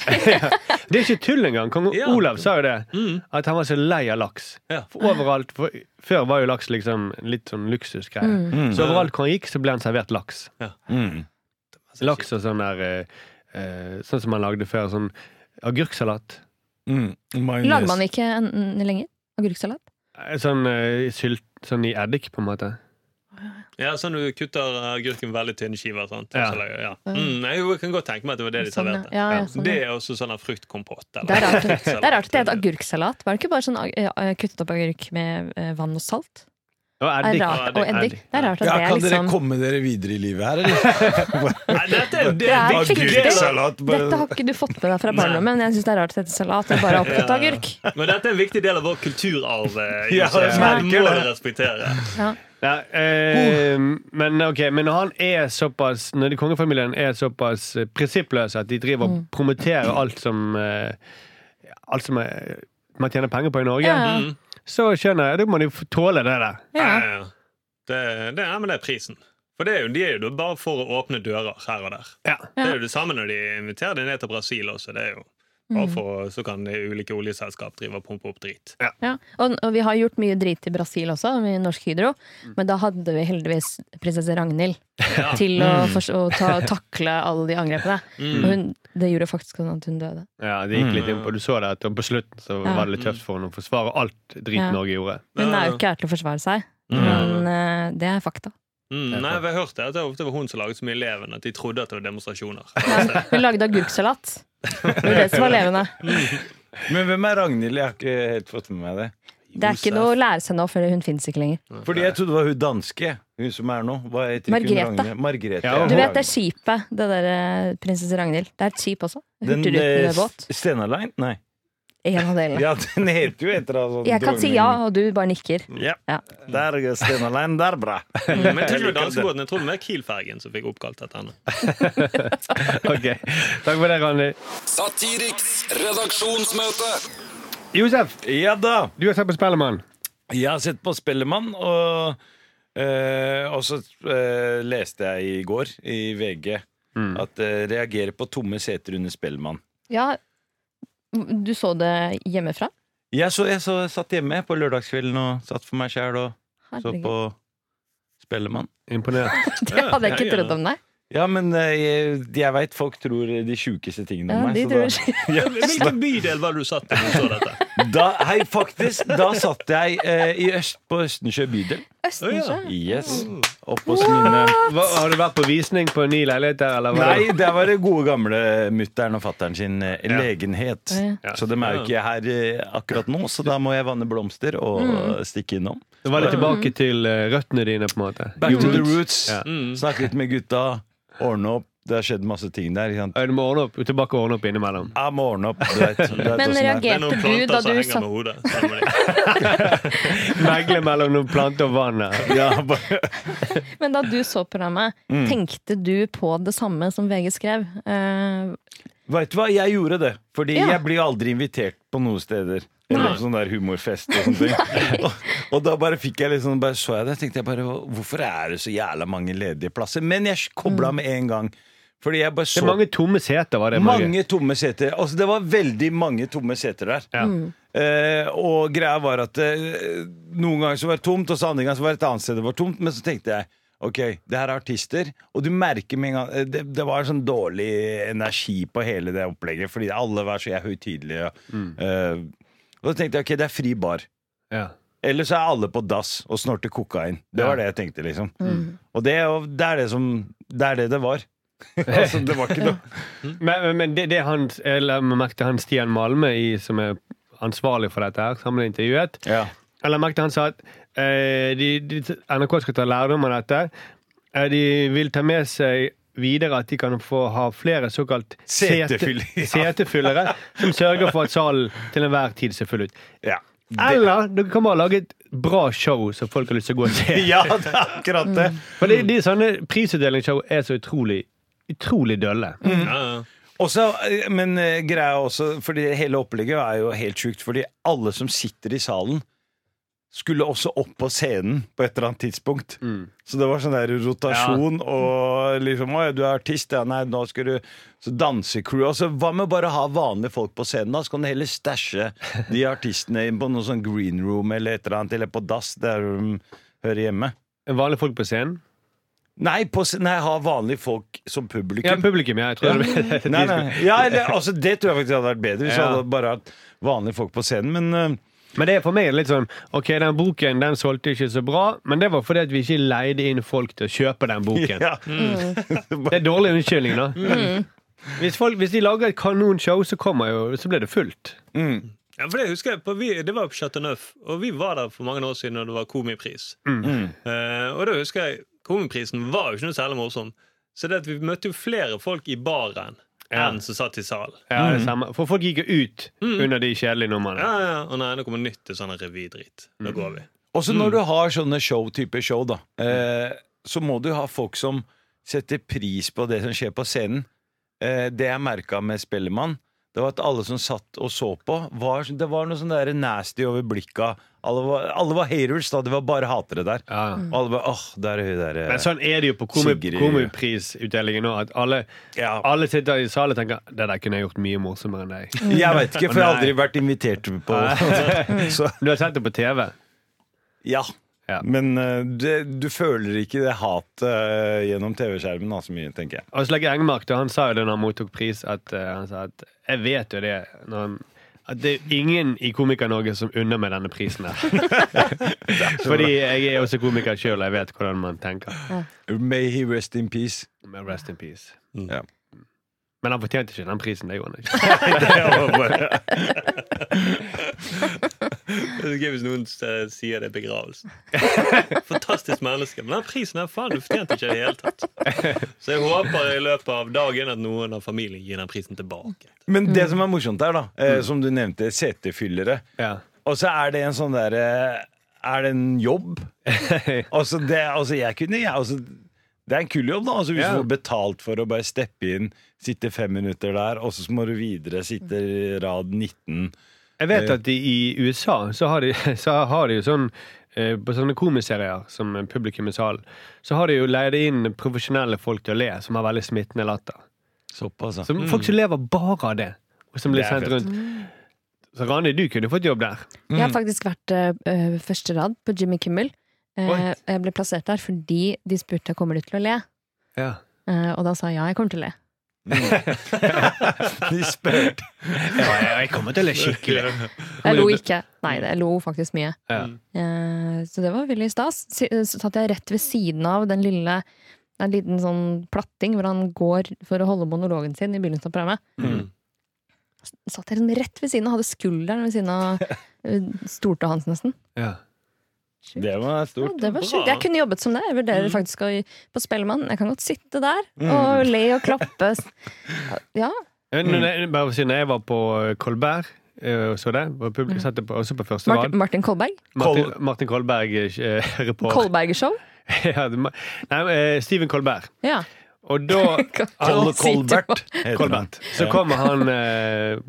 Det er ikke tull engang. Kong Ja. Olav sa jo det. Mm. At han var så lei av laks. Ja. For overalt, for Før var jo laks liksom litt sånn luksusgreie. Mm. Så overalt hvor han gikk, så ble han servert laks. Mm. Laks og sånn der eh, eh, Sånn som man lagde før. Sånn agurksalat. Mm. Majones. Lager man ikke en, en, lenger? Agurksalat? Eh, Sånn eh, sylt Sånn i eddik, på en måte. Ja, sånn du kutter agurken veldig tynne skiver. Sant? Ja. Så lager- ja. Mm, nei, jo, jeg kan godt tenke meg at det var det de Sånn, ja. serverte. Ja, ja, sånn, Det ja. er også sånn her fruktkompott. eller Sånn. Det er rart det fruktsalat. er rart at det heter agurksalat. Var det ikke bare sånn ag- eh, kuttet opp agurk med eh, vann og salt? Og Det er eddik. rart. Og eddik. Det er rart at Ja, det er kan dere liksom komme dere videre i livet her, eller? Nei, dette er, det det er er skikkelig- agurksalat. Agurksalat. Dette har ikke du fått med deg fra barndommen, men jeg syns det er rart at det heter salat. Jeg bare har opptatt Ja. agurk. Men dette er en viktig del av vår kulturarv. eh, Ja, Josef, jeg som merker må det. du respektere. Ja, eh, Uh. men ok, men når han er såpass Når de kongefamilien er såpass eh, prinsippløse at de driver Mm. og promoterer alt som eh, Alt som er, man tjener penger på i Norge, Ja, ja. Mm. så skjønner jeg, da må de få tåle det der. Ja. Ja, ja. Det, det, ja, men det er prisen. For det er jo, De er jo da bare for å åpne dører her og der. Ja. Det er jo det samme når de inviterer deg ned til Brasil også. det er jo Mm. bare for, å- Så kan de ulike oljeselskap drive og pumpe opp drit. Ja. Og, og vi har gjort mye drit i Brasil også, med Norsk Hydro, men da hadde vi heldigvis prinsesse Ragnhild Mm. Ja. til å, fors- å ta, takle alle de angrepene. Og Mm. hun, det gjorde faktisk sånn at hun døde. ja, det gikk litt inn på Du så det at på slutten så Ja. var det litt tøft for henne å forsvare alt drit Ja. Norge gjorde. Hun Ja, ja. er jo ikke her til å forsvare seg, Mm. men eh, det er fakta. Mm. Nei, vi har hørt det, at det ofte var hun som laget så mye leven at de trodde at det var demonstrasjoner. Hun lagde agurksalat. Det var det som var levende. Men hvem er Ragnhild? Jeg har ikke helt fått med meg det. Det er ikke noe å lære seg nå, for hun finnes ikke lenger. Fordi jeg trodde det var hun danske, hun som er nå. Hva heter ikke Margrethe. hun Ragnhild? Margrethe. Ja, Du vet det skipet, det der eh, prinsesse Ragnhild. Det er et skip også. Den eh, Hurtigrutebåt. S- Stena Line? Nei. En av delene. Ja, den heter jo etter altså, Jeg kan si ja, og du bare nikker. Ja. Ja. Der er Stena Line, der, bra. Men jeg tror ikke det var danskebåten, jeg tror det var Kiel-fergen som fikk oppkalt etter henne. Ok, Takk for det, Randi. Satiriks redaksjonsmøte. Josef, Ja da! du har sett på Spellemann. Jeg har sett på Spellemann, og, eh, og så eh, leste jeg i går i VG at eh, reagerer på tomme seter under Spellemann. Ja, du så det hjemmefra? Jeg, så, jeg så, satt hjemme på lørdagskvelden og satt for meg sjæl og så Herregud. på Spellemann. Imponert. Det hadde jeg Ja, ikke ja. trodd om deg. Ja, men eh, jeg, jeg veit folk tror de sjukeste tingene Ja, om meg. de så da- tror Hvilken bydel var det du satt i når du så dette? Da, hei, faktisk, da satt jeg eh, i øst, på Østensjø bydel. Østensjø. Yes. Opp hos mine Hva, har du vært på visning på en ny leilighet der, eller? hva? Nei, der var det gode gamle mutter'n og fatter'n sin eh, Ja. legenhet. Ja. Så de er jo ikke her eh, akkurat nå, så da må jeg vanne blomster og Mm. stikke innom. Det var litt tilbake til eh, røttene dine, på en måte. Back to the roots. Mm. Ja. Snakke litt med gutta. Ordne opp. Det har skjedd masse ting der. ikke sant? Ja, Du må ordne opp, tilbake og ordne opp innimellom. Jeg må ordne opp. Du vet, du vet Men åssen det er. Det er noen reagerte du da planter du som henger satt med hodet. Sånn var det. Megle mellom noen planter og vann. her. Ja, bare, Men da du så programmet, Mm. tenkte du på det samme som VG skrev? Eh, Vet du hva, jeg gjorde det. Fordi Ja. jeg blir aldri invitert på noen steder. Eller på sånn der humorfest og sånne ting. og, og da bare fikk jeg litt sånn, bare så jeg det, tenkte jeg bare hvorfor er det så jævla mange ledige plasser? Men jeg kobla med en gang. Fordi jeg bare Det så er mange tomme seter, var det. Norge? mange tomme seter. Altså, det var veldig mange tomme seter der. Ja. Eh, og greia var at eh, noen ganger så var det tomt, og så andre ganger så var det et annet sted det var tomt. Men så tenkte jeg ok, det her er artister, og du merker med en gang eh, det, det var en sånn dårlig energi på hele det opplegget, fordi Mm. alle var så høytidelige. og, eh, og da tenkte jeg ok, det er fri bar. Ja. Eller så er alle på dass og snorter kokain. Det var det jeg tenkte, liksom. Mm. Og det, er jo- det er det som Det er det det var. altså, det var ikke noe Men, men- men det, det han, eller man merket han Stian Malme, i, som er ansvarlig for dette, her, som ble intervjuet Ja. Eller merket han sa at eh, de, de, NRK skal ta lærdom av dette. Eh, de vil ta med seg videre at de kan få ha flere såkalt sete- Setefyll- ja. setefyllere, som sørger for at salen til enhver tid ser full ut. Ja. Eller dere kan bare lage et bra show som folk har lyst til å gå og se. ja, det er akkurat det. For Mm. de, de sånne prisutdelingsshow er så utrolig Utrolig dølle. Mm. Ja, ja. Også, eh, men eh, greia er også, fordi hele opplegget er jo helt sjukt, fordi alle som sitter i salen skulle også opp på scenen på et eller annet tidspunkt. Så det var sånn der rotasjon og liksom Å, ja, du er artist, ja, nei, nå skal du Så dansecrew. Altså, hva med bare å ha vanlige folk på scenen, da? Så kan du heller stæsje de artistene inn på noe sånn green room eller et eller annet, eller på dass, der de hører hjemme. Vanlige folk på scenen. Nei, på, sc- nei, ha vanlige folk som publikum. Ja, publikum, ja. Jeg tror det ble Nei, nei. Ja, eller, altså, det tror jeg faktisk hadde vært bedre hvis vi Ja. hadde bare hatt vanlige folk på scenen. Men øh, Men det er for meg litt sånn Ok, den boken den solgte ikke så bra, men det var fordi at vi ikke leide inn folk til å kjøpe den boken. ja. Mm. Det er dårlig unnskyldning, da. Hvis, folk, hvis de lager et kanonshow, så kommer jo Så blir det fullt. Ja, for Det husker jeg, på, vi, det var på Chateau Neuf, og vi var der for mange år siden når det var komipris. Mm. Eh, og da husker jeg, Komiprisen var jo ikke noe særlig morsom, så det at vi møtte jo flere folk i baren Ja. enn som satt i salen. Ja, Mm. det samme. For folk gikk jo ut under de kjedelige numrene. Ja, ja, ja. Og nei, nå kommer nytt til sånn revydrit. Da går vi. Også Mm. når du har sånne show-type show, da, eh, så må du ha folk som setter pris på det som skjer på scenen. Eh, det jeg merka med Spellemann, det var at alle som satt og så på, var, det var noe sånn der nasty over blikka. Alle var, alle var haters, da. Det var bare hatere der. Ja. Og alle bare åh, der er hun der. eh, Men sånn er det jo på komi Sigrid. komiprisutdelingen nå, at alle, Ja. alle sitter i salen og tenker Det der kunne jeg gjort mye morsommere enn deg. Jeg veit ikke, for jeg har aldri Nei. vært invitert på Så Du har sett det på TV. Ja. Ja. Men eh, det, du føler ikke det hatet eh, gjennom TV-skjermen da, så mye, tenker jeg. Og Slagge Engmark da, han sa jo det når han mottok pris, at eh, han sa at jeg vet jo det når han, At det er ingen i Komiker-Norge som unner meg denne prisen her. Fordi jeg er også komiker sjøl, jeg vet hvordan man tenker. May he rest in peace. Men rest in peace. Mm. Ja. Men han fortjente ikke den prisen, det gjorde han ikke. Det er gøy hvis noen eh, sier det i begravelsen. Fantastisk menneske. Men den prisen her, faen, du fortjente ikke det i det hele tatt. Så jeg håper i løpet av dagen at noen av familien gir den prisen tilbake. Men Mm. det som er morsomt her, da, eh, som du nevnte, setefyllere. Ja. Og så er det en sånn derre Er det en jobb? altså, det, altså, jeg kunne jeg, altså, Det er en kul jobb, da. Altså, hvis Ja. du får betalt for å bare steppe inn, sitte fem minutter der, og så må du videre sitte rad 19. Jeg vet at de, i USA så har de, så har de jo sånn eh, på sånne komiserier som publikum i salen, så har de jo leid inn profesjonelle folk til å le, som har veldig smittende latter. Såpass, da. Som Folk som lever bare av det, og som blir Mm. Det er sendt fett. rundt. Så Rani, du kunne fått jobb der. Jeg Mm. har faktisk vært eh, første rad på Jimmy Kimmel. Eh, Oi. jeg ble plassert der fordi de spurte kommer du til å le. Eh, og da sa jeg ja, jeg kommer til å le. Mm. De spurte. jeg kommer til å le skikkelig. Jeg lo ikke. Nei, jeg lo faktisk mye. Ja. Eh, så det var veldig stas. Si- Så satt jeg rett ved siden av den lille en liten sånn platting hvor han går for å holde monologen sin i begynnelsen av programmet. Mm. S- Satt jeg liksom rett ved siden av, hadde skulderen ved siden av eh, stortå hans nesten. Ja. Det var stort. Ja, det var Bra. sjukt. Jeg kunne jobbet som det. Jeg Mm. vurderer faktisk å på Spellemann. Jeg kan godt sitte der og le og klappe. Ja. Mm. Men Når jeg, bare for å si, når jeg var på Kolberg, eh, og så det, og publikum satt på, også på første Martin, rad Martin Kolberg. Martin, Martin Kolberg, eh, reporter. Kolberger-show. Ja, det må- Nei, eh, Steven Kolberg. Ja. Og da Kol Hva sier du? Kolbert. heter han. Kolbert. Så kommer han eh,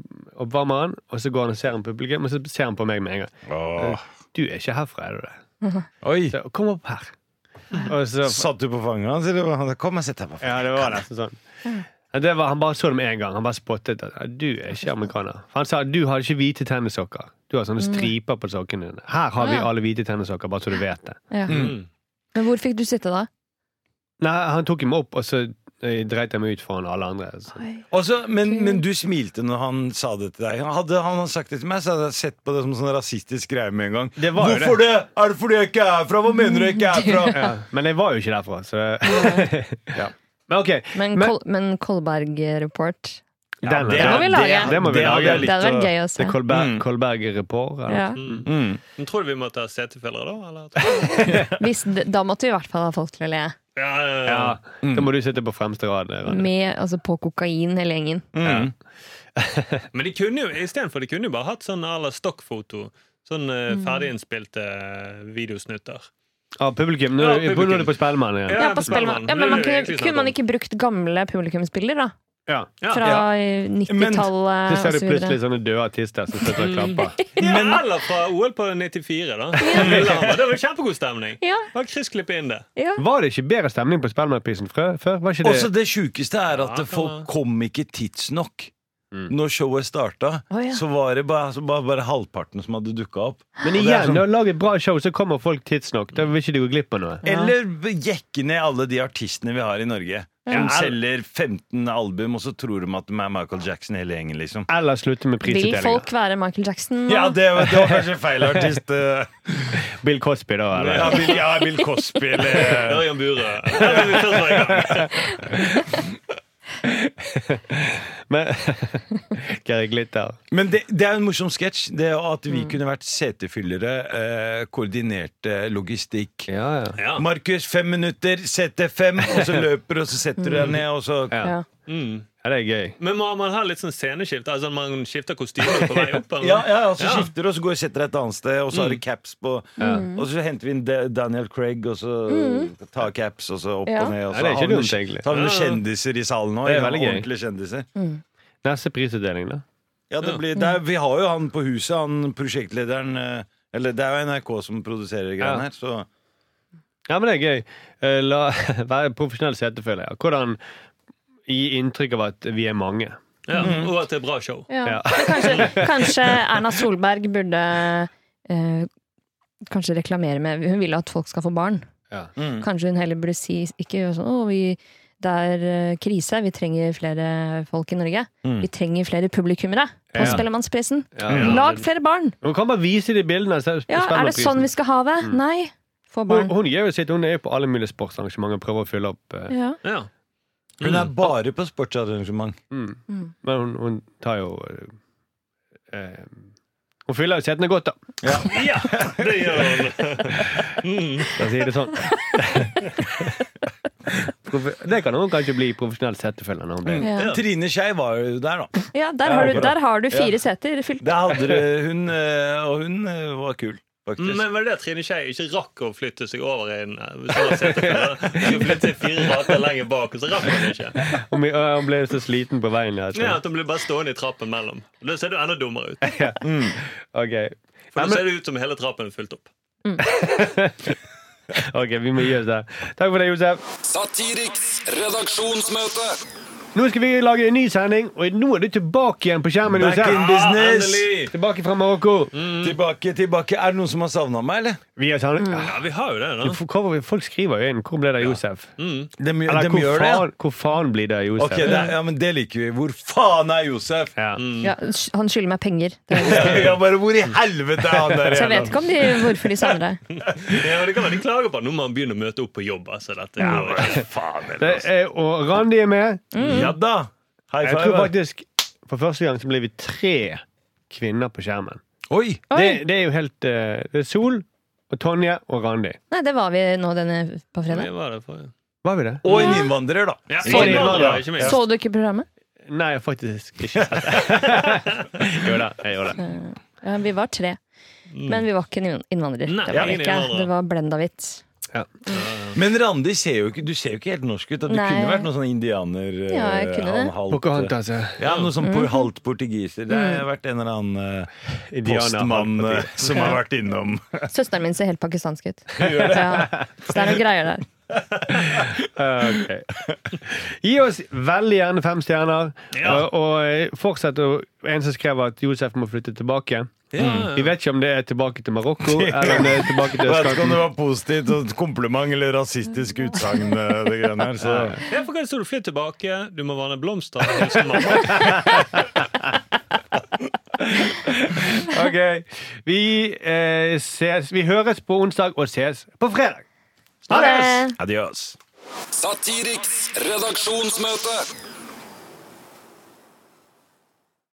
oppvarmer han, og så går han og ser han publikum, og så ser han på meg med en gang. Åh. Du er ikke herfra, er du det? Oi! Så, kom opp her. Og så Satt du på fanget hans? eller hva? Kom og sett deg på fanget. Ja, det var nesten sånn. Ja, Det var, han bare så det med en gang. Han bare spottet at ja, du er ikke amerikaner. For han sa du har ikke hvite tennissokker. Du har sånne striper på sokkene dine. Her har vi Ja. alle hvite tennissokker, Mm. bare så du vet det. Ja. Men hvor fikk du sitte da? Nei, han tok dem opp, og så Jeg dreit meg ut foran alle andre. Så. Oi. Også, men, men du smilte når han sa det til deg. Hadde han sagt det til meg, så hadde jeg sett på det som sånn rasistisk greie med en gang. Det var jo det. Hvorfor det? Er det fordi jeg ikke er herfra? Hva mener du jeg ikke er herfra? Ja. Men jeg var jo ikke derfra, så ja. Men ok. Men, Men- Kol men Kolberg-report den- det må den- vi lage. Det må vi Det hadde lage. jeg Det hadde vært gøy å Det se. er Kolberg, Mm. Kolberg-report. eller? Ja. Mm. Men Tror du vi måtte ha CT-feller da? Eller? Hvis, da måtte vi i hvert fall ha folk til å le. Ja, ja, ja. Ja, Da må du sitte på fremste rad. Ronny. Med, altså på kokain, hele gjengen. Mm. Men de kunne jo, istedenfor de kunne jo bare hatt sånn à la stokkfoto. Sånn eh, ferdiginnspilte eh, videosnutter. Ja, Ah, publikum. Nå, Ja, nå publikum. er du på Spellemann igjen. Ja, Ja, på på Spellemann. Spellemann. Ja, men man Det er jo kunne, egentlig kunne snakk man om. ikke brukt gamle publikumsbilder, da? Ja. Ja. Fra eh, Så 90-tallet ser og du så videre. plutselig sånne døde artister som sitter og klapper. Ja, eller fra OL på 94, da. Lillehammer. Det var jo kjempegod stemning. Ja, Bare kryssklippe inn det. ja. Var det ikke bedre stemning på Spellemannprisen frø- før? Var ikke det? Også det sjukeste er at Ja, folk kan- kom ikke tidsnok. Mm. Når showet starta, Å, ja. så var det bare, så bare, bare halvparten som hadde dukka opp. Men Og det er igjen, sånn- når du lager et bra show, så kommer folk tidsnok. Da vil ikke de gå glipp av noe. Ja. Eller jekke ned alle de artistene vi har i Norge. Som selger 15 album, og så tror de at de er Michael Jackson hele gjengen, liksom. Eller slutte med Vil prisutdelinger. folk være Michael Jackson? nå? Ja, det var, det var kanskje feil artist. eh. Bill Cosby, da. Eller? Ja, Bill, ja, Bill Cosby eller Ørjan Burøe. Ja, men vi først var i gang. Men Geir Glitter. Men det, det er jo en morsom sketsj. Det er at vi kunne vært setefyllere, eh, koordinerte logistikk. Ja, ja. Ja. Markus, fem minutter, sette fem, og så løper du, og så setter du deg ned, og så Ja. Ja. Mm. ja, det er gøy. Men må man ha litt sånn sceneskift? Altså Man skifter kostymer på vei opp? Eller? Ja, ja, altså og så Ja. skifter du, og så går og setter deg et annet sted, og så Mm. har du caps på Mm. Og så henter vi inn Da- Daniel Craig, og så tar caps, og så opp Ja. og ned. Og Ja, så det er ikke har vi dumt, noen- egentlig. så har vi noen Ja, ja. kjendiser i salen òg. Det er veldig gøy. Ordentlige kjendiser. Neste prisutdeling, da? Ja, det Ja. blir, det er, vi har jo han på huset, han prosjektlederen eh, Eller det er jo NRK som produserer Ja. greiene her, så Ja, men det er gøy. Eh, La være profesjonell setefølger. Hvordan gi inntrykk av at vi er mange. Ja. Mhm. Og at det er bra show. Ja. Ja. Men Kanskje, kanskje Erna Solberg burde eh, Kanskje reklamere med Hun vil at folk skal få barn. Ja. Mm. Kanskje hun heller burde si Ikke gjør sånn Å, vi, det er eh, krise. Vi trenger flere folk i Norge. Mm. Vi trenger flere publikummere på Ja. Spellemannsprisen. Ja. Lag flere barn! Hun kan bare vise de bildene. så Ja, spennende er det sånn prisen. vi skal ha det? Nei. Få hun, barn. hun gjør jo sitt. Hun er jo på alle mulige sportsarrangementer og prøver å fylle opp. eh, Ja. Ja. Hun er bare på sportsarrangement. Mm. Mm. Men hun, hun tar jo eh, eh, Hun fyller jo setene godt, da. Mm. ja, det gjør han. For å si det sånn. Profe- det kan hun kanskje bli profesjonell settefølger når hun blir Ja. Trine Skei var jo der, da. ja, der har du, der har du fire seter fylt. Det hadde du- hun, eh, og hun eh, var kul, faktisk. Men var det det at Trine Skei ikke rakk å flytte seg over i en eh, hvis hun hadde sett det før, da? Hun skulle flytte seg fire rader lenger bak, og så rakk hun ikke. Hun blir- øh, hun ble så sliten på veien. altså. her, så- Ja, At hun ble bare stående i trappen mellom. Da ser du enda dummere ut. Ok, For Nei, nå men- ser det ut som hele trappen er fylt opp. ok, vi må gi oss der. Takk for det, Josef. Satiriks redaksjonsmøte. Nå skal vi lage en ny sending, og nå er du tilbake igjen på skjermen. Back in Josef. business! Mm. endelig! Tilbake fra Marokko. Tilbake, tilbake. Er det noen som har savna meg, eller? Vi er sånn, ah, Ja, vi har jo det, da. hvor- Folk skriver jo inn 'Hvor ble det av Josef?' De, Eller de hvor Mm. gjør det. ja. faen, hvor faen blir det av Josef? Ok, det, Mm. er- ja, men det liker vi. Hvor faen er Josef? Ja. Ja, han skylder meg penger. Det, Ja, bare Hvor i helvete er han der så jeg vet igjen? ikke om de, hvorfor de savner deg. Ja, men det kan være de klager på at nå må han begynne å møte opp på jobb. Altså, dette går ikke. Mm. Det er, og Randi er med. Ja da! High Jeg tror five. faktisk For første gang så blir vi tre kvinner på skjermen. Oi! Det, det er jo helt eh, Det er Sol og Tonje og Randi. Nei, det var vi nå denne på fredag. Hvor var det for? Var vi det? Og en innvandrer, da. Ja, Så det var det. ikke minst. Så du ikke programmet? Nei, jeg har faktisk ikke sett det. jo da, jeg gjorde det. Ja, vi var tre. Men vi var ikke en innvandrer. Nei, det var vi ingen ikke. innvandrer. Det var blendahvitt. Men Randi ser jo ikke Du ser jo ikke helt norsk ut. da. Du Nei. kunne vært noen sånn indianer eh, Ja, jeg kunne det. han Mm. halvt- Pocahontas. Ja, noe sånn på halvt portugiser. Det har vært en eller annen eh, postmann eh, som har vært innom. Søsteren min ser helt pakistansk ut. Ja, så det er noen greier der. Ok. Gi oss veldig gjerne fem stjerner. Ja. Og, og eh, fortsett å En som skrev at Josef må flytte tilbake igjen. Ja. Vi vet ikke om det er tilbake til Marokko eller om det er tilbake til Jeg vet ikke om Østkanten. det var positivt og et kompliment eller rasistisk utsagn. eh, det greiene her, så- Ja, for hva står du flytt tilbake? Du må vanne blomster. hilsen mamma. Ok. Vi, eh, ses. vi høres på onsdag og ses på fredag. Ha det! Adios. Satiriks redaksjonsmøte.